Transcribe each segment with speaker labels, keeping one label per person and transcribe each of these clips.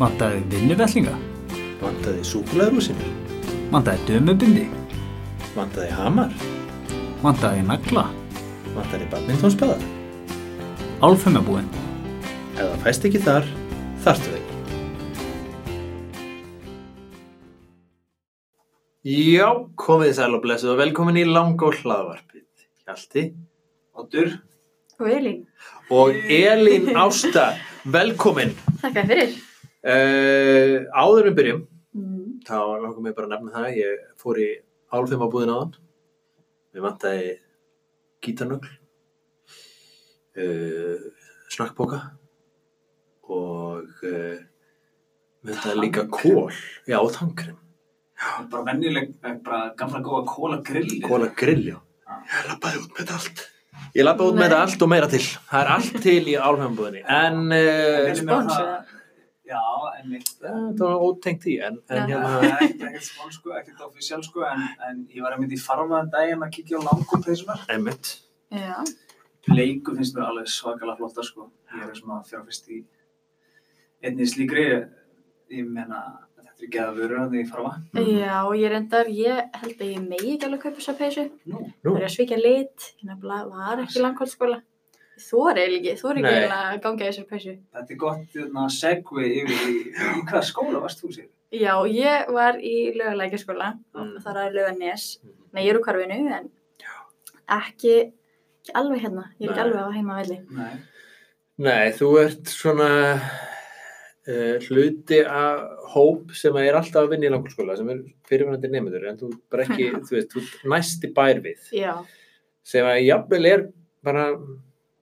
Speaker 1: Vantaði vinnuvellinga,
Speaker 2: Vantaði súkularúsinu?
Speaker 1: vantaði dömubindi,
Speaker 2: Vantaði hamar?
Speaker 1: vantaði nagla,
Speaker 2: Vantaði badmintónspaða?
Speaker 1: álfumabúinn.
Speaker 2: Ef það fæst ekki þar, þarftu það ekki. Já, komið sæl og blessuð og velkomin í langa og hlaðvarpið. Hjalti, Oddur
Speaker 3: Og Elín,
Speaker 2: og Elín Ásta, velkomin.
Speaker 3: þakka fyrir.
Speaker 2: Uh, áður en við byrjum,
Speaker 3: Mm.
Speaker 2: þá langar mig bara að nefna það, ég fór í álfimabúðin áðan. Við vantaði gítarnögl, uh, snakkbóka og uh, við vantaði líka kól, já, og tankrem,
Speaker 4: bara vennileg, eh, bara gamla góða kólagrill
Speaker 2: kóla grill, já. Ég lappaði út með þetta allt. Ég lappaði út með
Speaker 3: Nei.
Speaker 2: þetta allt og meira til. Það er allt til í álfimabúðinni, en... Uh,
Speaker 3: Bóns eða?
Speaker 4: já, en mitt
Speaker 2: Það var ótengt því, en, en
Speaker 3: Já.
Speaker 2: hérna...
Speaker 4: ekkert spóns sko, ekkert ofisjál sko en, en ég var að myndi í farmaðan daginn að kíkja á langu peysunar
Speaker 2: Einmitt.
Speaker 3: Já,
Speaker 4: bleiku finnst mér alveg svakalega flotta sko ég er svona fjárfist í einni slíkri ég meina, þetta er ekki að vera hann í farma
Speaker 3: já, og ég reyndar, ég held að ég megi ekki alveg kaupa þessa peysu.
Speaker 4: nú,
Speaker 2: Nú.
Speaker 3: Það er að svíkja lit, ég nefnilega var ekki í langkvöldskóla. Þú er eiginlega ekki, þú er ekki
Speaker 2: Nei.
Speaker 3: eiginlega að ganga í þessar peysu.
Speaker 4: þetta er gott að segvi yfir í, í hvaða skóla varst þú sér
Speaker 3: Já, ég var í löguleikaskóla, mm.
Speaker 2: Mm. Mhm.
Speaker 3: þar að löganes. Nei, ég er úr karfinu, en ekki, ekki alveg hérna, ég er ekki
Speaker 2: Nei.
Speaker 3: alveg á heima velli.
Speaker 4: nei,
Speaker 2: Nei, þú ert svona uh, hluti af hóp sem er alltaf að vinna í langskóla sem er fyrirvænandi nefndur en þú bara ekki, þú veist, þú næsti bær við
Speaker 3: Já,
Speaker 2: sem að jafnvel er bara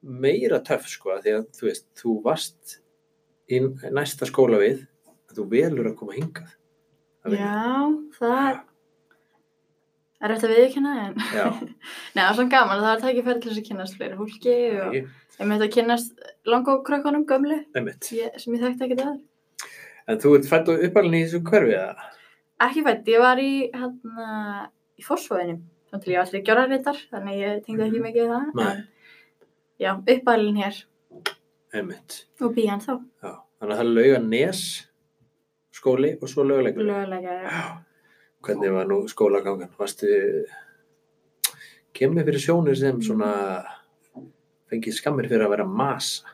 Speaker 2: meira töff sko af því að þú veist, þú varst í næsta skóla við að þú velur að koma hingað að vinna.
Speaker 3: já, það er, er eftir að viðkynna, en
Speaker 2: Já,
Speaker 3: Nei, það var svona gaman, það var tækifæri til þess að kynnast fleiri hólki og
Speaker 2: ég,
Speaker 3: ég með að kynnast langa og krökkunum gömlu
Speaker 2: einmitt.
Speaker 3: ég, sem ég þekkti ekkert aður.
Speaker 2: En þú ert fætt og uppalinn í þessu hverfi eða?
Speaker 3: Ekki fætt, ég var í, hérna, í fórsvöðinum, þannig til ég var þryggjóra reyndar, þannig ég tengdi ekki mikið við það.
Speaker 2: Mhm. Nei.
Speaker 3: en Já, uppalinn hér
Speaker 2: Einmitt.
Speaker 3: og bíjan þá,
Speaker 2: Já, þannig að það lauga nes skóli og svo lögulegur.
Speaker 3: lögulega. já.
Speaker 2: Hvernig var nú skólagangan? Varstu, kemur fyrir sjónir sem svona fengið skammir fyrir að vera masa?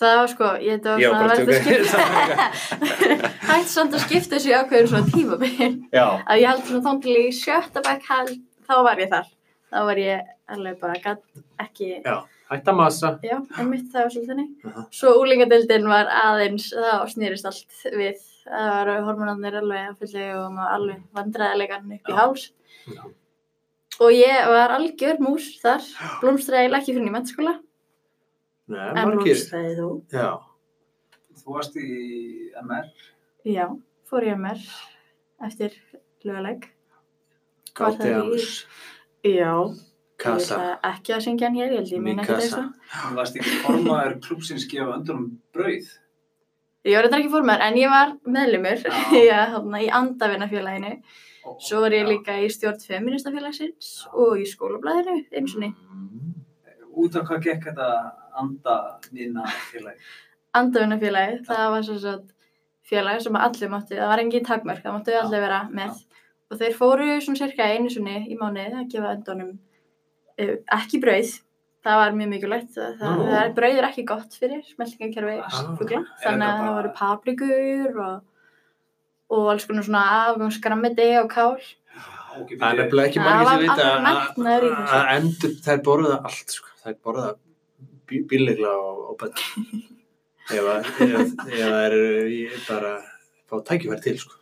Speaker 3: Það var sko, ég þetta var
Speaker 2: Já, bara
Speaker 3: svona að verða
Speaker 2: tjóka.
Speaker 3: skipta. Hætti samt að skipta þessu í ákveðin svona tímabil.
Speaker 2: Já.
Speaker 3: Að ég held svona þám til í sjötta bekk held, þá var ég þar. Þá var ég alveg bara gatt ekki
Speaker 2: Já, hætt að masa.
Speaker 3: Já, einmitt það var svolítið þannig.
Speaker 2: Aha.
Speaker 3: Svo úlingadeildin var aðeins, þá snýrist allt við. Það var hormonarnir alveg að fullu og maður alveg vandræðilegan upp í
Speaker 2: Já.
Speaker 3: háls.
Speaker 2: Já.
Speaker 3: Og ég var algjör mús þar, blómstræði ekki fyrir nýjum mennskóla.
Speaker 2: Nei,
Speaker 3: En
Speaker 2: margir.
Speaker 3: blómstræði þú?
Speaker 2: Já.
Speaker 4: þú varst í MR
Speaker 3: Já, fór ég að mér eftir lögaleg. Var það
Speaker 2: Gátti
Speaker 3: í-
Speaker 2: annars.
Speaker 3: Já,
Speaker 2: Kasa.
Speaker 3: ég ætla ekki að syngja hann hér, ég held ég meina ekki
Speaker 2: Mikasa.
Speaker 3: þess að.
Speaker 4: Þú varst ekki formaður klúpsins gefa öndunum brauð.
Speaker 3: Ég var reyndar ekki fór mér, en ég var meðlumur
Speaker 4: Já.
Speaker 3: Já, þarna, í andavinnafélaginu. Svo var ég líka í stjórn feministafélagsins og í skólablaðinu eins og niður.
Speaker 2: Mm.
Speaker 4: Út af hvað gekk þetta anda minna félagi?
Speaker 3: Andavinnafélagið, það var svo svo félag sem allir máttu, það var engin takmörk, það máttu allir vera með. Og þeir fóru svona cirka einu sinni í mánuði að gefa öndunum uh, ekki brauð. Það var mjög mikilvægt. Það, það,
Speaker 2: Nú.
Speaker 3: það er brauð er ekki gott fyrir smeltingakerfi
Speaker 4: Ah.
Speaker 3: fugla.
Speaker 4: Er
Speaker 3: Þannig að
Speaker 4: þetta
Speaker 3: það
Speaker 4: bara-
Speaker 3: voru paprikur og, og alls konar svona afgangsgrammiti og kál.
Speaker 4: Okay,
Speaker 2: Það er nefnilega ekki
Speaker 3: Það
Speaker 2: margir sem
Speaker 3: var
Speaker 2: vita
Speaker 3: alveg metnaður í
Speaker 2: að-
Speaker 3: þessu.
Speaker 2: að endur, þær borða allt, sko. Þær borða bí- bíllegla og, og bönn. ef að- ef- ef það er bara fá tækifæri til, sko.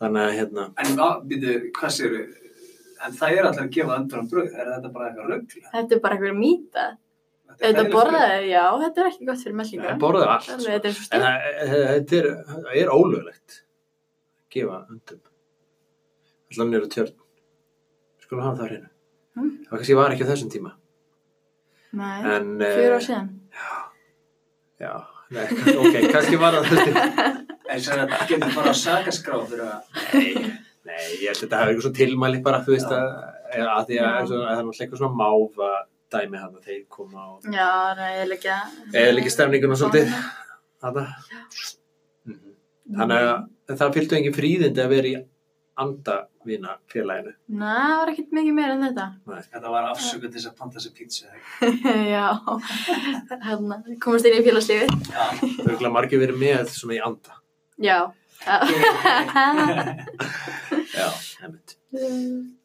Speaker 2: Þannig að, hérna,
Speaker 4: En hvað, býtu, hvað séu? En það er allir að gefa öndunum brauð. Er þetta bara eitthvað röggla?
Speaker 3: Þetta er bara eitthvað mýta. Þetta borðaði, já, þetta er ekki gott fyrir meldingar.
Speaker 2: þær borða allt,
Speaker 3: Alveg,
Speaker 2: sko.
Speaker 3: þetta er svo
Speaker 2: En
Speaker 3: stíl.
Speaker 2: það e- þetta er, það er ólöglegt að gefa öndum. Allan eru tjörn. Skulum hafa það á hreinu.
Speaker 3: Mm.
Speaker 2: Það kannski var ekki á þessum tíma.
Speaker 3: Nei,
Speaker 2: En,
Speaker 3: fjör
Speaker 2: eh,
Speaker 3: ár síðan.
Speaker 2: Já, nei, ok, kannski var það þessum tíma.
Speaker 4: En sem þetta getur bara að sakaskrá fyrir að...
Speaker 2: Nei, nei, ég held að þetta hafi eitthvað svona tilmæli bara, þú veist, að, að því að,
Speaker 3: Já.
Speaker 2: að, að það er náttúrulega eitthvað svona máfa dæmi hann að þeir koma og
Speaker 3: Já, það er ekki að...
Speaker 2: eða líka stemninguna svolítið. Þetta, Mhm. Þannig að það fylgdu engin fríðindi að vera í andavina félaginu.
Speaker 3: Næ, það var ekkert mikið meira en þetta.
Speaker 4: Þetta var afsökun til þess að panta sér pítsu. eða ekki?
Speaker 3: Já, hérna, komast inn í félagslífið.
Speaker 4: Já.
Speaker 2: Örgulega margir verið með svona í anda.
Speaker 3: Já.
Speaker 2: Já, einmitt.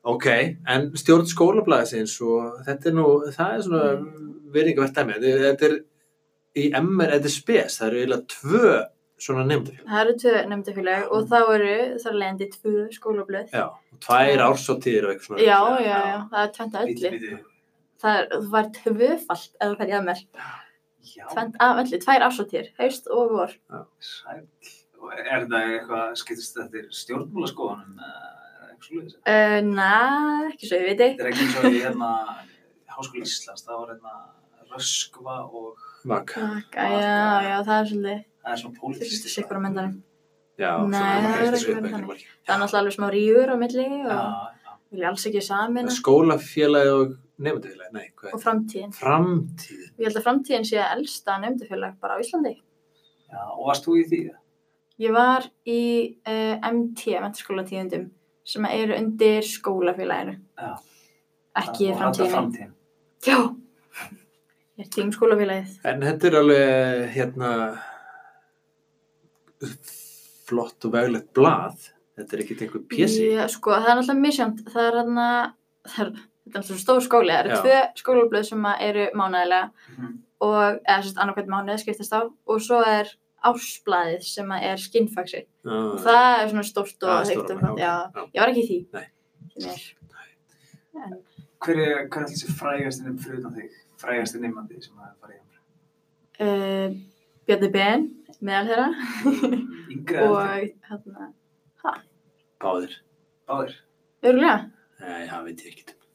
Speaker 2: Ok, en stjórn skólablaðisins og þetta er nú, það er svona virðingavert dæmi. Þetta er- Þetta er í MR, þetta er spes, það eru eiginlega tvö svona nefndafélag.
Speaker 3: það eru tvö nefndafélag og þá eru þar leiðandi tvö skólablöð.
Speaker 2: Já, og tvær ársóttíðir og eitthvað svona.
Speaker 3: Já, já, já, það er tvent að öllu.
Speaker 4: Bíddu, bíddu.
Speaker 3: Það er, þú var tvöfalt ef þú færði að mér.
Speaker 4: Já,
Speaker 3: Tvent að öllu, tvær ásóttir, haust og vor.
Speaker 4: sæl. Og er þetta eitthvað, skiptist þetta til stjórnmála skoðanum? Er eitthvað svo leiðis?
Speaker 3: Uh, Næ, ekki svo ég veit.
Speaker 4: Þetta er ekki eins og í hérna Háskóla Íslands, það var hérna Röskva og
Speaker 2: Vaka.
Speaker 3: Kaka, já, já, það er svolítið.
Speaker 4: það er svona
Speaker 3: Þú
Speaker 4: pólitískt.
Speaker 3: veist, sikkur á myndanum.
Speaker 2: Já,
Speaker 3: Nei,
Speaker 2: svona
Speaker 3: það er
Speaker 2: eitthvað
Speaker 3: ekki verið
Speaker 2: svipað
Speaker 3: þannig.
Speaker 2: marki.
Speaker 3: Það er náttúrulega alveg smá rífur á milli
Speaker 4: Já, Sko-
Speaker 3: og
Speaker 4: já.
Speaker 3: vilja alls ekki samin
Speaker 2: Skólafélagi og nefndafélagi, nei, hvað er
Speaker 3: og framtíðin.
Speaker 2: þetta? Framtíðin.
Speaker 3: Ég held að framtíðin sé að elsta nefndafélag bara á Íslandi.
Speaker 4: já, og varst þú í því?
Speaker 3: Ég var í uh, MT, mentarskóla tíðundum, sem eru undir skólafélaginu.
Speaker 4: Já.
Speaker 3: Ekki
Speaker 4: Og þetta
Speaker 3: framtíðinu.
Speaker 4: framtíðin.
Speaker 3: Já. Ég er tím skólafélagið.
Speaker 2: En þetta er alveg hérna flott og veglegt blað. Þetta er ekkert einhver pjessi.
Speaker 3: Ég, sko, það er náttúrulega misjönd. Það er hann að, það er, þetta er náttúrulega stór skóli. Það eru
Speaker 2: Já.
Speaker 3: tvö skólablöð sem að eru mánæðilega.
Speaker 4: Mhm.
Speaker 3: og eða sérst annarkvæmt mánuð skiptast á og svo er ásblæðið sem að er skinnfaxi og
Speaker 2: Það
Speaker 3: það er svona stórt og heitt og
Speaker 2: flott,
Speaker 3: flott já,
Speaker 2: já.
Speaker 3: ég var ekki í því
Speaker 2: Nei.
Speaker 3: því mér
Speaker 4: Hver er, hver er þessi frægasti nefn fyrir utan þig? Frægasti nefnandi sem það er farið hjá.
Speaker 3: uh, Björni Ben meðal þeirra
Speaker 4: Yngri eða eldri?
Speaker 3: og hérna,
Speaker 2: Báðir.
Speaker 4: Báðir.
Speaker 3: örgulega
Speaker 2: Nei, það veit ég ekkert um.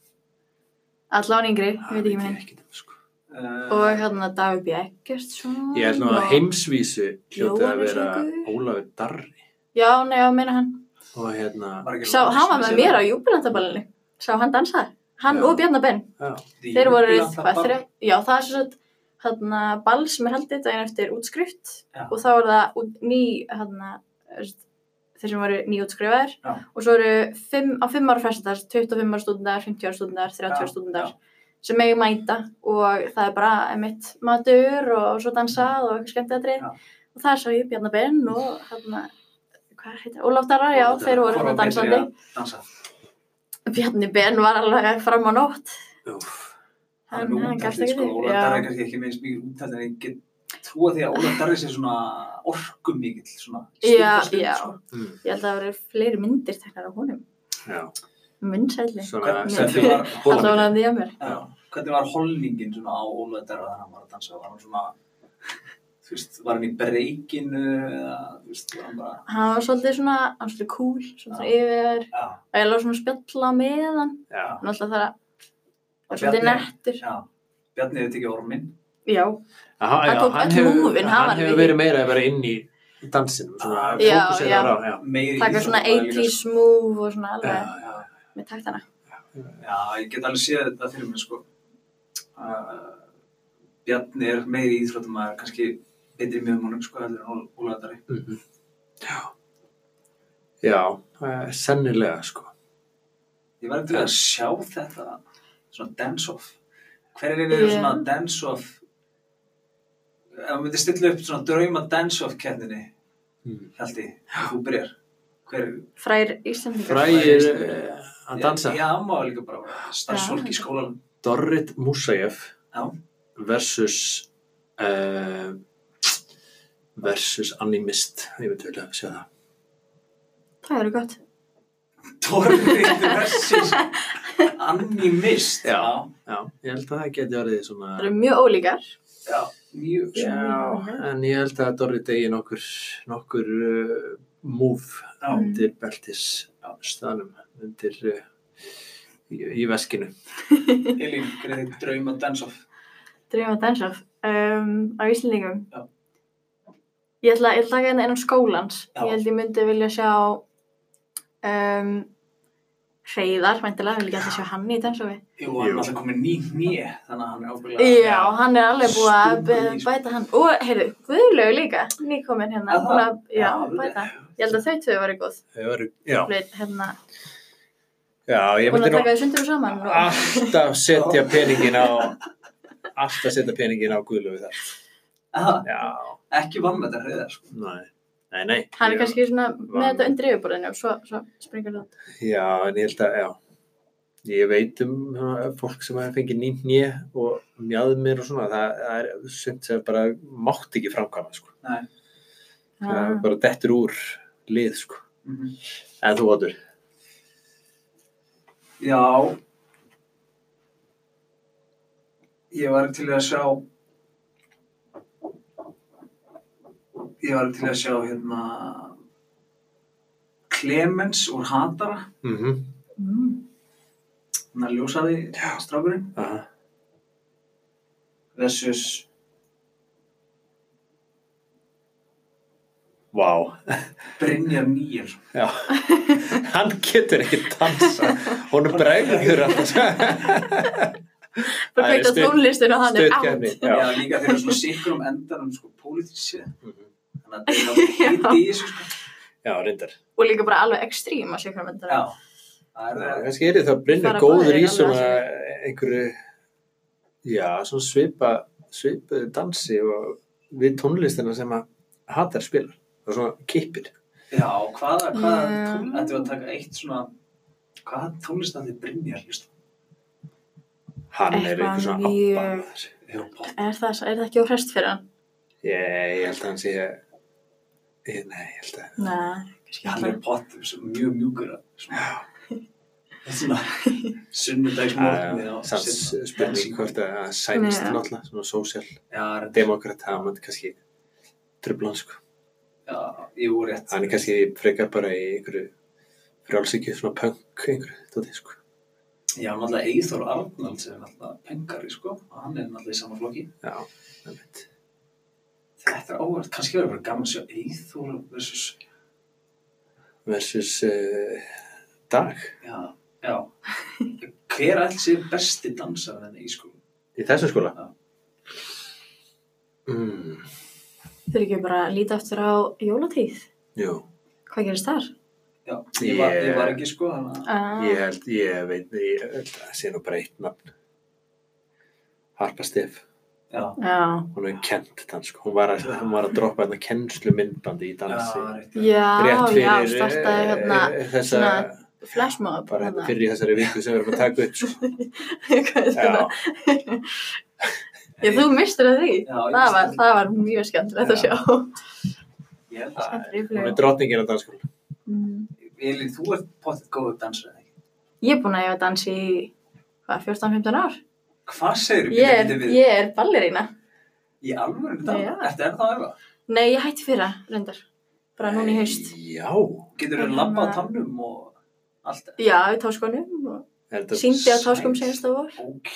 Speaker 3: allan yngri, ég
Speaker 2: Það
Speaker 3: veit ekki með hinn
Speaker 2: ekkert um, sko.
Speaker 4: Uh,
Speaker 3: og hérna Davíð Bjekkert
Speaker 2: Ég held nú að heimsvísu hljótið að vera
Speaker 3: Jóhannesson.
Speaker 2: Ólafur Darri
Speaker 3: já, nei, já, meina hann
Speaker 2: og hérna
Speaker 4: var ekki
Speaker 3: sá,
Speaker 4: Lars
Speaker 3: hann var
Speaker 4: sem
Speaker 3: með
Speaker 4: sér
Speaker 3: mér á
Speaker 4: það?
Speaker 3: júbilantaballinu sá hann dansaði, hann
Speaker 2: Já.
Speaker 3: og Björni Ben
Speaker 2: já,
Speaker 4: Í
Speaker 3: Þeir voru
Speaker 4: Júbílantaball.
Speaker 3: hvað þrjá, já það er svo hérna ball sem er haldið daginn eftir útskrift
Speaker 4: Já.
Speaker 3: og þá er það út, ný hérna þeir sem voru nýútskrifaðir
Speaker 4: Já.
Speaker 3: og svo eru fimm, á fimm ára frestandar 25 ára stundar, 50 ára stundar, 30 ára
Speaker 4: Já,
Speaker 3: stundar sem megi mæta og það er bara emitt matur og svo dansað og eitthvað skemmt
Speaker 4: Já.
Speaker 3: og það er svo ég Bjarnar Ben og hérna hvað heitir, Ólaf Darra, já,
Speaker 2: Ólafur Darra.
Speaker 3: þeir voru
Speaker 4: Fóru
Speaker 3: hérna
Speaker 4: á betri
Speaker 3: dansandi
Speaker 4: að dansa.
Speaker 3: Bjarni Ben var alveg fram á nótt
Speaker 2: úf,
Speaker 4: hann er
Speaker 3: Hann-
Speaker 4: með
Speaker 3: hann gafst
Speaker 4: útaldið
Speaker 3: ekki
Speaker 4: sko,
Speaker 3: upp,
Speaker 4: Ólaf
Speaker 3: já.
Speaker 4: Darri er kannski ekki með eins mikið útaldið en ég get trúa því að Ólaf Darri sé svona orkumikill svona
Speaker 3: Já,
Speaker 4: stutta stund,
Speaker 3: já.
Speaker 4: sko.
Speaker 2: mm,
Speaker 3: ég held að það voru fleiri myndir teknar á honum
Speaker 2: já,
Speaker 3: munnsæli
Speaker 2: svona
Speaker 4: Hvernig-
Speaker 2: sem þið var
Speaker 3: Alltaf
Speaker 2: Ólafur
Speaker 3: hann að því að mér.
Speaker 4: Já. Hvernig var holningin svona á Ólaf Darri þegar hann var að dansa var hann svona þú veist, var hann í breykinu eða þú veist, var hann bara
Speaker 3: Hann var svolítið svona, hann var svolítið cool, svolítið
Speaker 4: Já.
Speaker 3: yfir,
Speaker 4: já,
Speaker 3: og ég lág svona að spjalla með hann.
Speaker 2: Já,
Speaker 3: Hann alltaf það var
Speaker 4: Og
Speaker 3: svolítið
Speaker 4: Bjarni.
Speaker 3: nettur.
Speaker 4: já Bjarni hefur tekið ormin
Speaker 3: Já,
Speaker 2: Aha, já,
Speaker 3: Hann tók öll
Speaker 2: hefur-
Speaker 3: múfin, hann var
Speaker 2: hann hefur
Speaker 3: við-
Speaker 2: verið meira að vera inn í dansinum svona
Speaker 4: Ah,
Speaker 2: að
Speaker 3: já,
Speaker 2: fókusera
Speaker 3: já.
Speaker 2: þar á, já.
Speaker 4: meiri
Speaker 3: taka
Speaker 4: íþrótt-
Speaker 3: svona
Speaker 4: maður líka, sko.
Speaker 3: 80s move og svona
Speaker 2: Já,
Speaker 3: alveg
Speaker 2: já,
Speaker 3: með taktana.
Speaker 4: Já, ég get alveg séð þetta fyrir mig, sko. Uh, Bjarni er meiri íþróttumæður, kannski betri mjög mannum, sko, heldur en Ólaðari.
Speaker 2: Mhm. Já, já, eh, sennilega sko.
Speaker 4: Ég var eftir að sjá þetta, svona dance-off. Hver er yfir
Speaker 3: Já.
Speaker 4: svona dance-off? Ef maður myndi stilla upp svona drauma dance-off keppninni,
Speaker 2: Mm.
Speaker 4: held ég, þú byrjar. Hver,
Speaker 3: Frær Íslandingar.
Speaker 2: Frægir eh, að dansa.
Speaker 4: Já, maður líka bara starfsfólk í skólanum.
Speaker 2: Dorrit Musayev
Speaker 4: Já.
Speaker 2: versus uh, versus animist, ég veit vel að sjá það.
Speaker 3: Það eru gott.
Speaker 4: Torfitt versus animist.
Speaker 2: Já. Já, ég held að það geti orðið svona...
Speaker 3: Það eru mjög ólíkar.
Speaker 4: Já, mjög
Speaker 2: Já, en ég held að Dorrit eigi nokkur, nokkur uh, move
Speaker 4: Já.
Speaker 2: undir beltis staðnum, undir uh, í, í veskinu.
Speaker 4: Elín, hver er þitt drauma dance-off?
Speaker 3: Dream of Dance Off um, á Íslandingum.
Speaker 4: Já.
Speaker 3: Ég ætla, ég ætla að taka hérna innan skólans.
Speaker 4: Já.
Speaker 3: Ég held ég myndi vilja sjá um, Hreiðar, mæntilega, vil ekki alltaf sjá hann í dansofi.
Speaker 4: Jú, hann
Speaker 2: Jú.
Speaker 4: er alltaf komið ný nýja, þannig að hann er ábyggilega...
Speaker 3: Já, hann er alveg búið að
Speaker 4: Stúlkan í
Speaker 3: b-
Speaker 4: sko.
Speaker 3: bæta hann. Og, heyrðu, Guðlaug líka, nýkomin hérna.
Speaker 4: Er það?
Speaker 3: Hún að, já,
Speaker 4: Alveg.
Speaker 3: bæta. Ég held að þau tvö varu góð.
Speaker 2: Þau eru- Já,
Speaker 3: Hleit, hérna,
Speaker 2: já, ég
Speaker 3: búin
Speaker 2: myndi
Speaker 3: að
Speaker 2: nú Ah.
Speaker 3: taka þau sundur og saman. Og,
Speaker 2: alltaf setja peningin á alltaf setja peningin á guðlöfu þar.
Speaker 4: Aha,
Speaker 2: Já,
Speaker 4: Ekki vann með þetta hreiðar, sko.
Speaker 2: nei, nei, nei. Ég-
Speaker 3: hann er kannski svona með
Speaker 2: var-
Speaker 3: þetta undir yfirborðinu og svo, svo springur það.
Speaker 2: Já, en ég held að, já. Ég veit um svona, fólk sem hefur fengið nýtt nýja og mjadmir og svona, það, það er sumt sem bara mátt ekki framkvæma, sko.
Speaker 4: Nei.
Speaker 2: Það er
Speaker 3: Ah.
Speaker 2: bara dettur úr lið, sko.
Speaker 4: Mhm.
Speaker 2: En þú, Otur?
Speaker 4: Já. Ég var til að sjá... Ég var til að sjá, hérna... Clemens úr Hatara,
Speaker 2: Mm -hmm.
Speaker 3: Mm.
Speaker 4: hann að ljósaði strafurinn. versus
Speaker 2: Vá.
Speaker 4: Brynjar Nýjar.
Speaker 2: Já. Hann getur ekki dansa. Honum bregður alltaf.
Speaker 3: Bara
Speaker 2: Það er
Speaker 3: kveikta
Speaker 2: stutt-
Speaker 3: tónlistin og hann er átt.
Speaker 2: Stuttgefni.
Speaker 4: Já,
Speaker 2: Já.
Speaker 4: líka þeir eru svona sikkur um endanum sko pólitísið.
Speaker 2: Mhm.
Speaker 4: Þannig að það er hitt í þessu sko.
Speaker 2: já, reyndar.
Speaker 3: Og líka bara alveg ekstrím að sjökra myndar.
Speaker 4: Já, það er
Speaker 2: Já,
Speaker 4: það.
Speaker 2: Eh, kannski er þetta að brinna
Speaker 3: Fara
Speaker 2: góður
Speaker 3: báðir
Speaker 2: í
Speaker 3: alveg
Speaker 2: svona
Speaker 3: að
Speaker 2: einhverju já, svona svipa svipaðu dansi og við tónlistina sem að hattar spila og svona kippir
Speaker 4: Já, hvaða, hvaða
Speaker 3: Já.
Speaker 4: tónlist, þetta var að taka eitt svona, hvaða tónlist að þið Brynjar hlusta?
Speaker 2: hann er
Speaker 3: Eitthvað
Speaker 2: einhver svona
Speaker 3: mjög-
Speaker 2: abba maður.
Speaker 4: Já, pop.
Speaker 3: Er það, er það ekki á hrest fyrir hann?
Speaker 2: ég, ég held að hann sé ég, nei, ég held að
Speaker 3: Nei, kannski
Speaker 4: Hann er
Speaker 3: ekki.
Speaker 4: pop, mjög mjúkur að svona. Svona sunnudagsmorgni
Speaker 2: að-
Speaker 4: og
Speaker 2: sans
Speaker 4: setna.
Speaker 2: spurning hvort að að sænist
Speaker 3: Nei.
Speaker 2: náttúrulega svona sósjál
Speaker 4: Já, reyndar.
Speaker 2: demokrat, það mann kannski trublan sko,
Speaker 4: Já, jú, rétt.
Speaker 2: hann er kannski frekar bara í einhverju frjálsíkju svona punk einhverju, tóti sko
Speaker 4: Já, náttúrulega Eithor Arnald sem er náttúrulega pengari, sko. og Hann er náttúrulega í sama flokki.
Speaker 2: já, það veit
Speaker 4: Þetta er óvært, kannski verður bara gaman að sjá Eithor versus,
Speaker 2: versus uh, dag
Speaker 4: já, já. Hver alls er besti dansar þenni í sko?
Speaker 2: í þessum skóla
Speaker 4: Já.
Speaker 2: mm,
Speaker 3: Þau eru ekki bara að líta aftur á jólatíð.
Speaker 2: jú,
Speaker 3: Hvað gerist þar?
Speaker 4: Já, ég var, ég var ekki sko, hann að...
Speaker 3: Ah,
Speaker 2: ég held ég veit, ég held að sé nú bara eitt nafn Harpa Stef
Speaker 4: Já,
Speaker 3: Já.
Speaker 2: hún hefur kent dans sko. hún, var að, hún var að droppa hérna kennslu myndbandi í dansi
Speaker 4: já, rétt.
Speaker 3: Já, já, startaði
Speaker 2: eh,
Speaker 3: hérna
Speaker 2: þessa,
Speaker 3: svona flashmob.
Speaker 2: bara hérna
Speaker 3: hérna.
Speaker 2: fyrir í þessari viku sem við erum að taka upp sko.
Speaker 3: Hvað er þetta?
Speaker 2: já,
Speaker 3: Já, þú mistur að því.
Speaker 4: Já, ég
Speaker 3: Það
Speaker 4: missti
Speaker 3: var,
Speaker 4: af því.
Speaker 3: það var mjög skemmtilegt að
Speaker 4: Já.
Speaker 3: sjá.
Speaker 4: Ég held að,
Speaker 3: Skemmtileg upplifun.
Speaker 2: hún er drottningin á danskóla
Speaker 3: Mm.
Speaker 4: Elin, þú ert pottið góður dansar þenni.
Speaker 3: Ég er búin að ég að dansa í, hvað, 14-15 ár?
Speaker 4: Hvað segir þú?
Speaker 3: Ég er, ég er ballerína.
Speaker 4: Í alvöru dag?
Speaker 3: Já.
Speaker 4: Ertu ennþá að æfa?
Speaker 3: Nei, ég hætti fyrra, reyndar. Bara núna í haust.
Speaker 2: já,
Speaker 4: Getur þú
Speaker 3: En
Speaker 4: labba á
Speaker 3: hérna-
Speaker 4: tannum og allt það?
Speaker 3: Já, í táskonum og
Speaker 2: er þetta-
Speaker 3: síndi á táskum
Speaker 4: sæt.
Speaker 3: senast á vor.
Speaker 4: Ok,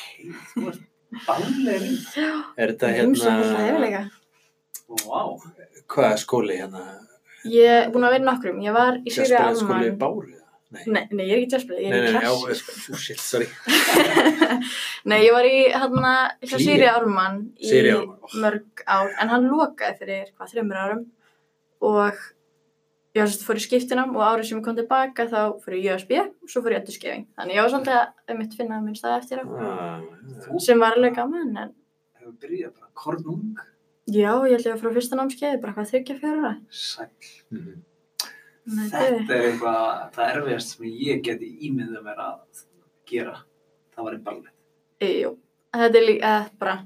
Speaker 4: þú ert ballerinn.
Speaker 2: er þetta
Speaker 3: Umsum alltaf
Speaker 2: hérna
Speaker 3: hefilega.
Speaker 4: Vá.
Speaker 2: hvað skóli hérna
Speaker 3: Ég er búin að vera í nokkrum. Ég var í Sýri
Speaker 2: Jaspera skóli
Speaker 3: Alman.
Speaker 2: Báru
Speaker 3: Nei, nei, ég er ekki jazzbreið, ég er í klass.
Speaker 2: já, shit, sorry
Speaker 3: Nei, ég var í hérna, hjá
Speaker 2: Klíu.
Speaker 3: Sýri Ármann í
Speaker 2: Sigri Ármann, Oh. ó.
Speaker 3: mörg ár, en hann lokaði fyrir hvað, þreymur árum og ég var svolítið fór í skiptinam og árið sem ég kom tilbaka þá fór ég í USB og svo fór ég endurskefing. Þannig ég var svolítið að mitt finna minn stað eftir á,
Speaker 2: Ah,
Speaker 4: Þú
Speaker 3: sem var alveg gaman, en
Speaker 4: hefur byrjað bara kornung,
Speaker 3: já, ég held ég var frá fyrsta námskeiði, bara hvað þryggja fjóra.
Speaker 4: sæl.
Speaker 2: mhm.
Speaker 3: Nei,
Speaker 4: Þetta er eitthvað, það erfiðast sem ég geti ímyndað mér að gera. Það var í ballið.
Speaker 3: Jú, þetta er líka eh, bara,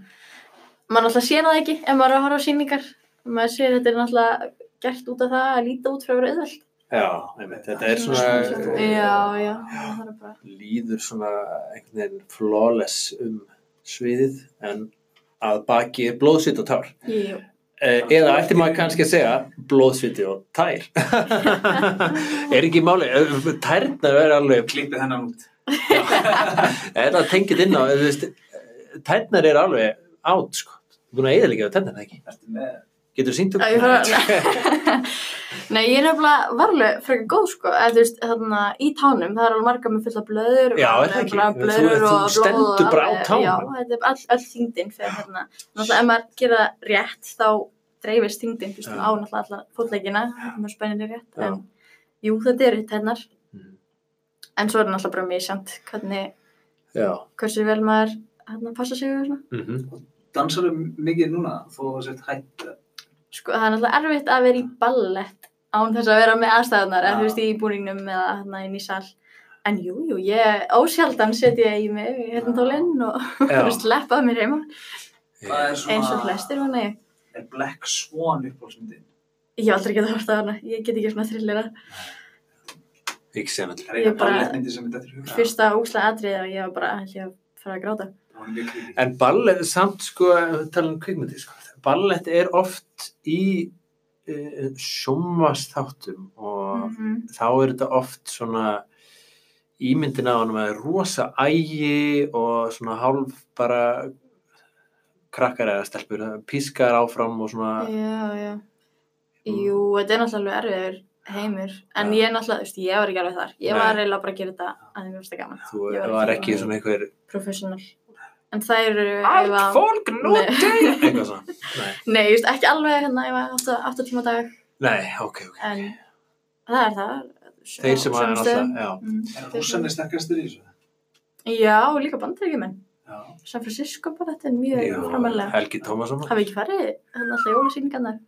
Speaker 3: maður náttúrulega sér það ekki ef maður er að horfa á síningar, maður sér þetta er náttúrulega gert út af það að líta út frá að vera auðvöld.
Speaker 2: Ah, já, einmitt, þetta er
Speaker 4: Svona-
Speaker 2: svona
Speaker 3: Já, já, það er bara,
Speaker 2: líður svona einhvern veginn flawless um sviðið en að baki er blóðsviti og tár
Speaker 3: jú,
Speaker 2: Eh, eða ætti maður kannski að segja blóðsviti og tær er ekki máli eh, tærnar er alveg
Speaker 4: Klippið hennan út.
Speaker 2: eða tengið inn á eh, þú eh, veist, tærnar er alveg átt sko, búin að eða líka tærnar það ekki
Speaker 4: Ertu með
Speaker 2: Getur þú sínt
Speaker 3: Já, ég fara, nei, ég er nefnilega varlega frekar góð sko, eða þú veist, þarna í tánum, það er alveg marga með fulla blöður
Speaker 2: Já,
Speaker 3: og
Speaker 2: er það ekki?
Speaker 3: bara
Speaker 2: Þú-
Speaker 3: blöður
Speaker 2: þú
Speaker 3: og
Speaker 2: stendur
Speaker 3: blóð og
Speaker 2: bara á
Speaker 3: alveg-
Speaker 2: tánum.
Speaker 3: Já, þetta er all, all þingdin fyrir hérna, náttúrulega ef maður gera það rétt þá dreifist þingdin, þú veist,
Speaker 2: Já.
Speaker 3: á náttúrulega alla fótleikina, maður spennir er rétt,
Speaker 2: Já.
Speaker 3: en jú, þetta er hitt hennar,
Speaker 2: Mhm.
Speaker 3: en svo er náttúrulega bara misjant, hvernig,
Speaker 2: Já.
Speaker 3: hversu vel maður hérna passa sig og svona,
Speaker 2: Mm
Speaker 4: Dansar mikið núna þó að það sett hætt
Speaker 3: sko, það er náttúrulega erfitt að vera í ballett án þess að vera með aðstæðunar, eða
Speaker 4: Já.
Speaker 3: þú veist, í búningnum eða hérna inn í sal. En jú, jú, ég, ósjaldan set ég í mig hérna tólinn og
Speaker 2: Já. Ah.
Speaker 3: sleppa mér heima,
Speaker 4: Það er svo-
Speaker 3: eins og flestir, vona ég.
Speaker 4: er Black Swan uppbólsmyndin.
Speaker 3: Ég hef aldrei getað hort á hana, ég get ekki svona thrillera.
Speaker 2: Ekki sem allir.
Speaker 4: Það er eina
Speaker 3: Ég bara-
Speaker 4: ballettmyndi sem þetta er huga.
Speaker 3: Fyrsta úslega atriðið og ég var bara held ég að fara að gráta.
Speaker 4: Það var mjög krítið.
Speaker 2: En ballett, samt sko, tala um kvikmyndi, sko. Ballett er oft í uh, sjómasþáttum og
Speaker 3: Mhm.
Speaker 2: þá er þetta oft svona ímyndin á hann með rosa ægi og svona hálf bara krakkar eða stelpur, pískar áfram og svona
Speaker 3: Já, já.
Speaker 2: Ah.
Speaker 3: Jú, þetta er náttúrulega alveg erfiður heimur, en
Speaker 2: Já.
Speaker 3: ég náttúrulega, þú veist, ég var ekki alveg þar. Ég
Speaker 2: Nei.
Speaker 3: var eiginlega bara að gera þetta að því mér finnst það gaman.
Speaker 2: þú
Speaker 3: Ég var
Speaker 2: var
Speaker 3: ekki-
Speaker 2: ekki svona einhver
Speaker 3: professional en það eru ef
Speaker 2: allt
Speaker 3: að-
Speaker 2: fólk noti
Speaker 3: Nei.
Speaker 2: eitthvað svona nei,
Speaker 3: nei, just, ekki alveg hérna ég var 8, 8 tíma á dag
Speaker 2: nei ok, ok
Speaker 3: en það er það sjö-
Speaker 2: þeir sem að
Speaker 3: sömu
Speaker 2: er
Speaker 3: stöðum.
Speaker 2: alltaf já,
Speaker 3: Mm.
Speaker 4: En rússan er sterkastur í þessu.
Speaker 3: já, og líka bandaríkjumenn
Speaker 4: Já.
Speaker 3: San Francisco bara þetta er mjög
Speaker 2: já,
Speaker 3: framalega
Speaker 2: Helgi Tómasson
Speaker 3: hafi ekki farið hann alltaf jólasýningarnar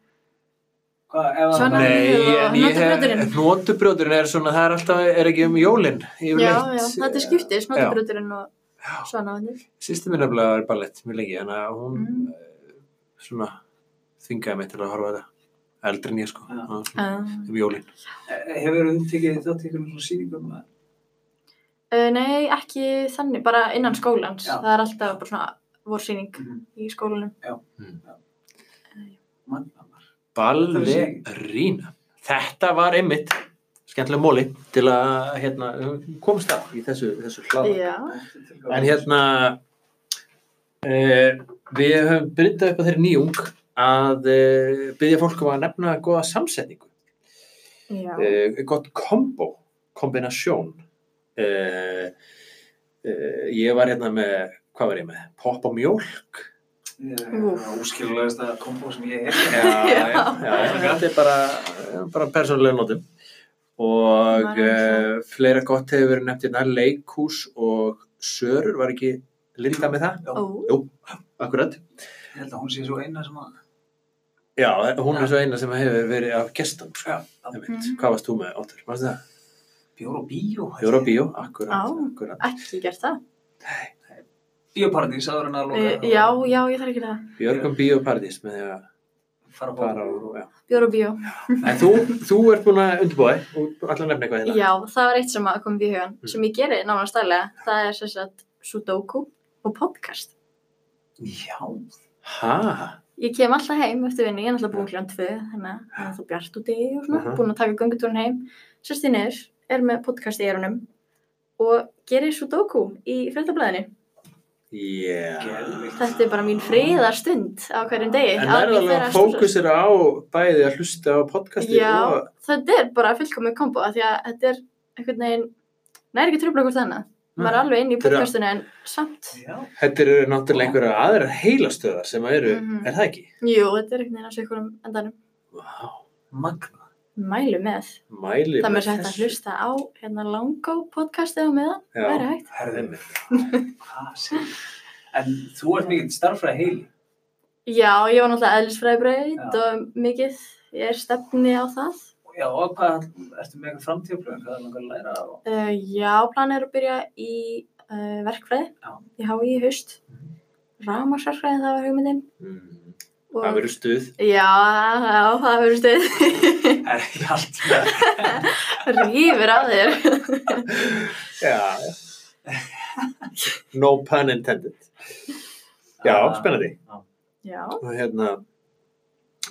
Speaker 4: Hvað, ef
Speaker 3: Svona-
Speaker 4: að...
Speaker 2: Nei, en ég
Speaker 3: Hnotubrjóturinn.
Speaker 2: hef Nótubrjóturinn er svona, það er alltaf, er ekki um jólin
Speaker 3: já, já, þetta
Speaker 2: eh,
Speaker 3: er skiptið,
Speaker 2: já.
Speaker 3: smáttubruturinn og svona vandir
Speaker 2: Sýsti minn nefnilega er ballett mjög lengi Þannig að hún
Speaker 3: Mm.
Speaker 2: eh, svona þingaði mig til að horfa á þetta Eldri en ég sko
Speaker 4: Já.
Speaker 2: Það var svona
Speaker 3: uh,
Speaker 2: Um jólin
Speaker 4: Eh, Hefur þú tekið þátt í einhverjum svona sýningum? eða?
Speaker 3: eh, nei, ekki þannig, bara innan skólans
Speaker 4: Já.
Speaker 3: það er alltaf bara svona vorsýning
Speaker 4: Mhm.
Speaker 3: í skólanum
Speaker 4: Mannamar.
Speaker 2: Ballerína Þetta var einmitt skemmtileg móli til að hérna, komst að í þessu, þessu hlaða
Speaker 3: já,
Speaker 2: En hérna uh, við höfum bryndað upp að þeirri nýjung að uh, byggja fólk um að nefna góða samsetningu
Speaker 3: já
Speaker 2: uh, gott kombo, kombinasjón uh, uh, ég var hérna með hvað var ég með, popp og mjólk
Speaker 3: Úff.
Speaker 4: Úskilulegast að kombo sem ég er.
Speaker 2: já, já, já, þetta er bara, bara persónulega notum og
Speaker 3: Maður er
Speaker 2: uh, fleira gott hefur verið nefnt hérna leikús og sörur, var ekki Linda með það?
Speaker 3: Ó,
Speaker 2: Jú, akkurat
Speaker 4: Ég held að hún sé svo eina sem að...
Speaker 2: Já, hún
Speaker 4: Já.
Speaker 2: er svo eina sem hefur verið af gestum sko. Einmitt.
Speaker 3: Mhm.
Speaker 2: Hvað varst þú með, Óttur? Varst það?
Speaker 4: Bjór og bíó. held ég.
Speaker 2: Jóra bíó, akkurat,
Speaker 3: Á.
Speaker 2: akkurat.
Speaker 3: ekki gert það
Speaker 4: Bíóparadís áður en að
Speaker 3: Uh,
Speaker 4: loka.
Speaker 3: já, já, ég þarf ekki það.
Speaker 2: Björgum bíóparadís með því að
Speaker 4: Fara
Speaker 2: fara á
Speaker 4: bóra.
Speaker 2: já.
Speaker 3: Bjór og bíó.
Speaker 2: En þú, þú ert búin að undirbúa þig og allar nefna eitthvað hérna.
Speaker 3: Já, það var eitt sem að kom við í hugan,
Speaker 2: Mm.
Speaker 3: sem ég geri náman stærlega. Það er sem sagt sudoku og podcast.
Speaker 4: Já.
Speaker 2: Hæ?
Speaker 3: Ég kem alltaf heim eftir vinnu, ég er alltaf búin kljón tvö, þannig að það er þá bjart úti og svona,
Speaker 2: Mhm.
Speaker 3: búin að taka göngutúrin heim. Sérst í niður, er með podcast í erunum og gerir sudoku í fréttablaðinu.
Speaker 2: Yeah.
Speaker 3: Þetta er bara mín friðarstund á hverjum degi.
Speaker 2: En
Speaker 3: áður en ég fer
Speaker 2: verðalega
Speaker 3: að stússa.
Speaker 2: fókusir á bæði að hlusta á podcasti
Speaker 3: Já,
Speaker 2: og
Speaker 3: þetta er bara fullkomið kombo af því að þetta er einhvern veginn næri ekki tröfla hvort annað maður er alveg inn í
Speaker 2: Mm. Þetta er-
Speaker 3: podcastinu en samt
Speaker 4: Já.
Speaker 2: þetta eru náttúrulega einhverja aðra heilastöðar sem eru,
Speaker 3: Mhm.
Speaker 2: er það ekki?
Speaker 3: jú, þetta er einhvern veginn á sig hverjum endanum
Speaker 2: Vá,
Speaker 4: Magna.
Speaker 3: mælu með,
Speaker 2: mæli
Speaker 3: það með hægt að hlusta á hérna langó podcastið á meðan
Speaker 2: Já.
Speaker 3: væri hægt,
Speaker 4: Herðið
Speaker 2: Einmitt.
Speaker 4: Hvað segir þú? En þú ert mikið starfræði heili.
Speaker 3: já, ég var náttúrulega eðlisfræðibraut
Speaker 4: Já.
Speaker 3: og mikið ég er stefni á það
Speaker 4: Já, og hvað, ertu með eitthvað framtíðaplöðin? Hvað er langar að læra á?
Speaker 3: uh, já, plan er að byrja í uh, verkfræði,
Speaker 4: Já.
Speaker 3: ég há í haust
Speaker 4: Mhm.
Speaker 3: rámarsverkfræði, það var hugmyndin
Speaker 2: Mm.
Speaker 3: og,
Speaker 2: Það verður stuð.
Speaker 3: já, já, það verður stuð
Speaker 4: Er ekki allt í lagi?
Speaker 3: rýfur á þér
Speaker 2: Já. no pun intended. Já,
Speaker 4: Ah.
Speaker 2: spennandi.
Speaker 3: Já,
Speaker 2: Og hérna,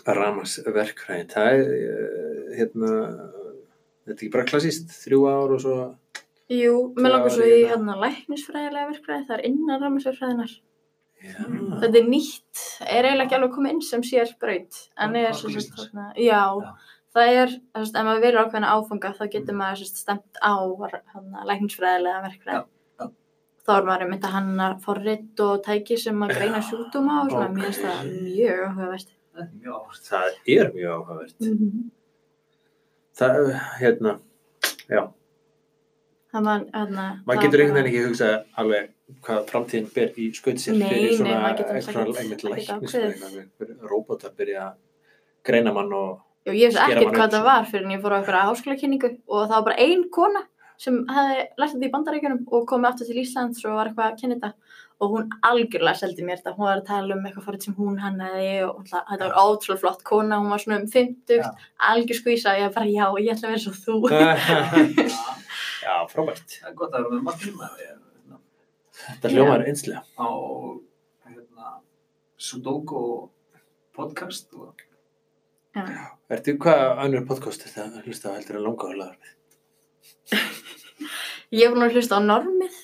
Speaker 2: Ramas verkfræðin, það er, eh, hérna, þetta er ekki bara klassíst, þrjú ár og svo,
Speaker 3: jú,
Speaker 2: Já,
Speaker 3: mér langar svo
Speaker 2: ég
Speaker 3: í
Speaker 2: meina-
Speaker 3: hérna læknisfræðilega verkfræði, það er innan rammarsverkfræðinar.
Speaker 2: Já.
Speaker 3: Þetta er nýtt, er eiginlega ekki alveg komið inn sem sér braut, en
Speaker 4: Já,
Speaker 3: er sem sagt
Speaker 4: parklýsingar.
Speaker 3: þarna, já,
Speaker 2: Já.
Speaker 3: það er, sem sagt, ef maður velur ákveðna áfanga þá getur maður sem sagt stemt á hana, læknisfræðilega verkfræði.
Speaker 4: Já, já.
Speaker 3: Þá er maður einmitt að hanna forrit og tæki sem að greina sjúkdóma og svona,
Speaker 2: ok.
Speaker 3: mér finnst það mjög áhugavert.
Speaker 4: Það er mjög áhört.
Speaker 2: Það er mjög áhugavert. Mhm. Það, hérna, já,
Speaker 3: hérna, Það man, hana,
Speaker 2: maður getur einhvern veginn ekki hugsað alveg hvað framtíðin ber í skuld sér
Speaker 3: Nei,
Speaker 2: fyrir
Speaker 3: nei,
Speaker 2: svona
Speaker 3: maður getur
Speaker 2: einhvern
Speaker 3: náttúrulega ekki-
Speaker 2: einmitt
Speaker 3: maður getur
Speaker 2: læknis
Speaker 3: ákveðið.
Speaker 2: einhvern róbót að byrja að greina mann og
Speaker 3: Jú, ég veist
Speaker 2: Skera
Speaker 3: ekkert
Speaker 2: mann upp
Speaker 3: hvað það
Speaker 2: svona.
Speaker 3: var fyrir en ég fór á einhverja háskólakynningu og það var bara ein kona sem hefði lært þetta í bandarækjunum og komið aftur til Íslands og var eitthvað að kynna þetta og hún algjörlega seldi mér þetta, hún var að tala um eitthvað fórið sem hún hannaði og hún, ætla- þetta var ótrúlega flott kona, hún var svona um 50,
Speaker 4: Já.
Speaker 3: algjör skvísa og ég bara já, ég ætla að vera svo þú.
Speaker 2: já,
Speaker 4: Það
Speaker 2: frábært
Speaker 4: er gott að vera með margt tíma. ég- hérna,
Speaker 2: þetta hljómar einslega
Speaker 4: Á, hérna, Sudoku podcast og
Speaker 2: Ertu hvað önnur podcast er þetta að hlusta á heldur en langa og lagar
Speaker 3: Ég var nú að hlusta á normið,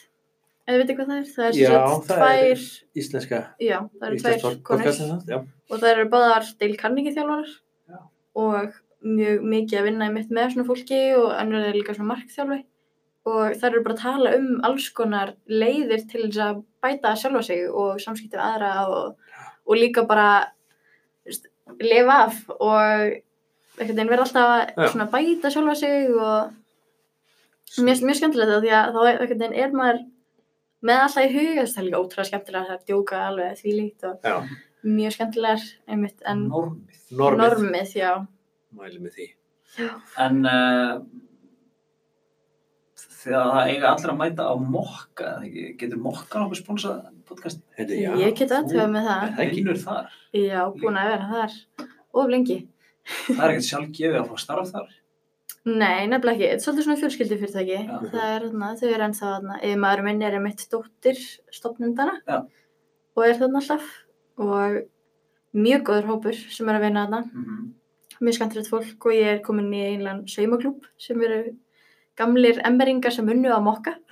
Speaker 3: eða veitir hvað það er, það er
Speaker 2: Já,
Speaker 3: sem sagt
Speaker 2: það er-
Speaker 3: tvær,
Speaker 2: íslenska
Speaker 3: já, það eru
Speaker 2: íslensk
Speaker 3: tvær konur.
Speaker 2: podcast er það, já,
Speaker 3: og það eru báðar Dale Carnegie þjálfarar
Speaker 4: Já.
Speaker 3: og mjög mikið að vinna í mitt með svona fólki og önnur er líka svona markþjálfi og það eru bara að tala um alls konar leiðir til þess að bæta sjálfa sig og samskipti við aðra og, og líka bara þú veist, lifa af og einhvern veginn verða alltaf
Speaker 2: Já.
Speaker 3: að svona bæta sjálfa sig og Mér finnst mjög skemmtilegt það því að þá er, einhvern veginn er maður með alltaf í huga, þess að það er líka ótrúlega skemmtilega það er djóka alveg því líkt og
Speaker 2: Já.
Speaker 3: mjög skemmtilegar einmitt en
Speaker 4: normið.
Speaker 2: normið,
Speaker 3: normið, já.
Speaker 2: mæli með því
Speaker 4: En uh, þegar það eiga allra að mæta á mokka, eða ekki? getur mokka nokkuð sponsað podcasti?
Speaker 2: Heiti, já,
Speaker 3: ég get aðtöða með
Speaker 2: Er
Speaker 3: það.
Speaker 2: það ekki?
Speaker 4: Vinnur þar.
Speaker 3: Já, búin að vera þar of lengi.
Speaker 4: Það er ekkert sjálfgefið að fá starf þar.
Speaker 3: Nei, nefnilega ekki. Þetta er svolítið svona fjölskyldi fyrirtæki.
Speaker 4: Já.
Speaker 3: Það er þarna, þau eru ennþá þarna. Ef maður minn er einmitt dóttir stopnundana
Speaker 4: Já.
Speaker 3: og er þarna alltaf og mjög góður hópur sem er að vinna þarna.
Speaker 4: Mm -hmm.
Speaker 3: Mjög skandrætt fólk og ég er komin í einlan saumaklúb sem eru gamlir emmeringar sem unnu á mokka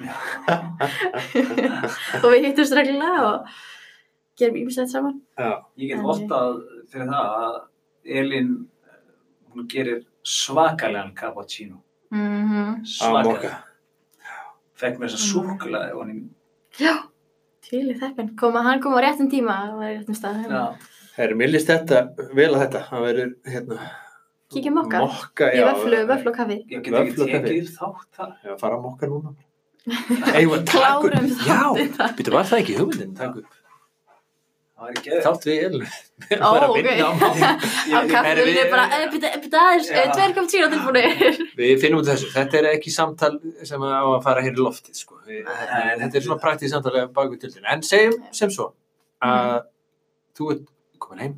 Speaker 3: og við hittumst reglulega og gerum ímislegt saman.
Speaker 2: já,
Speaker 4: Ég get
Speaker 3: En-
Speaker 4: vottað fyrir það að Elin, eh, hún gerir svakalegan cappuccino.
Speaker 3: Mm
Speaker 2: á mokka
Speaker 4: Fekk mér þess að
Speaker 3: Mm.
Speaker 4: súkulaði og hann í
Speaker 3: Já, til í þeppin. Koma, hann kom á réttum tíma, hann var í réttum stað.
Speaker 4: Já,
Speaker 2: Herri, mér líst þetta, vel að þetta, það verður, hérna,
Speaker 3: Kíkjum mokka.
Speaker 2: mokka
Speaker 3: Í
Speaker 2: já,
Speaker 3: vöflu, vöflu og kaffi.
Speaker 4: ég get ekki
Speaker 2: Vöflu og
Speaker 4: tekið þátt þar.
Speaker 2: Já, fara að mokka núna. Eigum að taka upp.
Speaker 3: Klárum
Speaker 2: Já,
Speaker 3: þetta.
Speaker 2: býttu, var það ekki hugmyndin? Takk upp.
Speaker 4: Það var ekki
Speaker 2: Þátt við elinu.
Speaker 3: Eh. Ó,
Speaker 2: Bara
Speaker 3: ok.
Speaker 2: vinna á málum.
Speaker 3: Á kaffinu
Speaker 2: við-
Speaker 3: er bara, "Eh, eða byrja, byrja aðeins,
Speaker 4: Já.
Speaker 3: tverjum kom tíra tilbúinir.
Speaker 2: Við finnum út af þessu. Þetta er ekki samtal sem á að fara hér í loftið, sko. Við,
Speaker 4: Nei.
Speaker 2: þetta er svona praktíð samtal bak við tildinu. En segjum sem svo að
Speaker 3: Mhm.
Speaker 2: þú ert komin heim,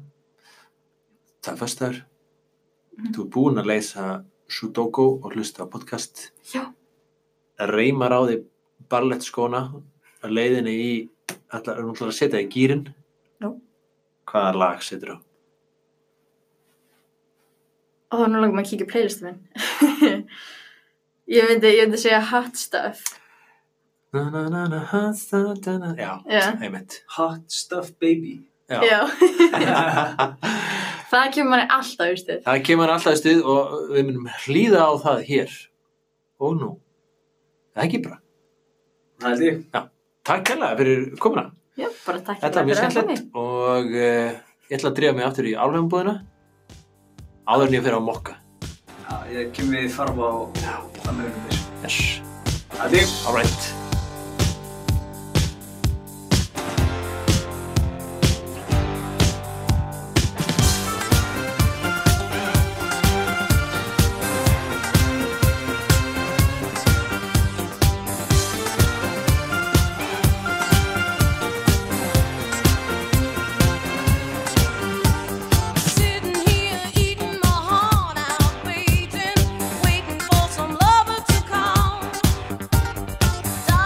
Speaker 2: það er föstaður,
Speaker 3: Mhm.
Speaker 2: þú er búin að leysa Sudoku og hlusta á podcast.
Speaker 3: Já.
Speaker 2: reymar á því barlettskóna að leiðinni í allar, hún ætlar að setja í gýrin
Speaker 3: Já.
Speaker 2: hvaða lag setur á
Speaker 3: Ó, nú langar maður að kíkja í playlistu minn. ég myndi, ég myndi segja hot stuff.
Speaker 2: na, na, na, na, ha, sa, da, na. já,
Speaker 3: Já,
Speaker 2: einmitt
Speaker 4: Hot stuff baby.
Speaker 2: já.
Speaker 3: já. það kemur manni alltaf, veistu.
Speaker 2: það kemur alltaf í stuð og við munum hlýða á það hér og nú það er ekki bara,
Speaker 4: Það held ég.
Speaker 2: takk hérlega fyrir komuna
Speaker 3: Já, bara takk
Speaker 2: þetta er
Speaker 3: fyrir
Speaker 2: mjög
Speaker 3: að koma.
Speaker 2: skemmtilegt og uh, ég ætla að drífa mig aftur í álfæðumbúðina áður en ég fyrir á mokka
Speaker 4: Já, ég kem við farfa og það með um þessu.
Speaker 2: yes,
Speaker 4: Það held ég.
Speaker 2: alright
Speaker 5: Sitting here eating my heart out, waiting, waiting for some lover to call. Da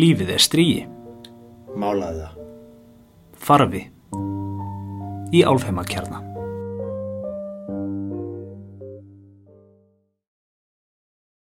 Speaker 1: Lífið er strígi,
Speaker 2: Málaði það.
Speaker 1: farfi. Í álfheimakjarna.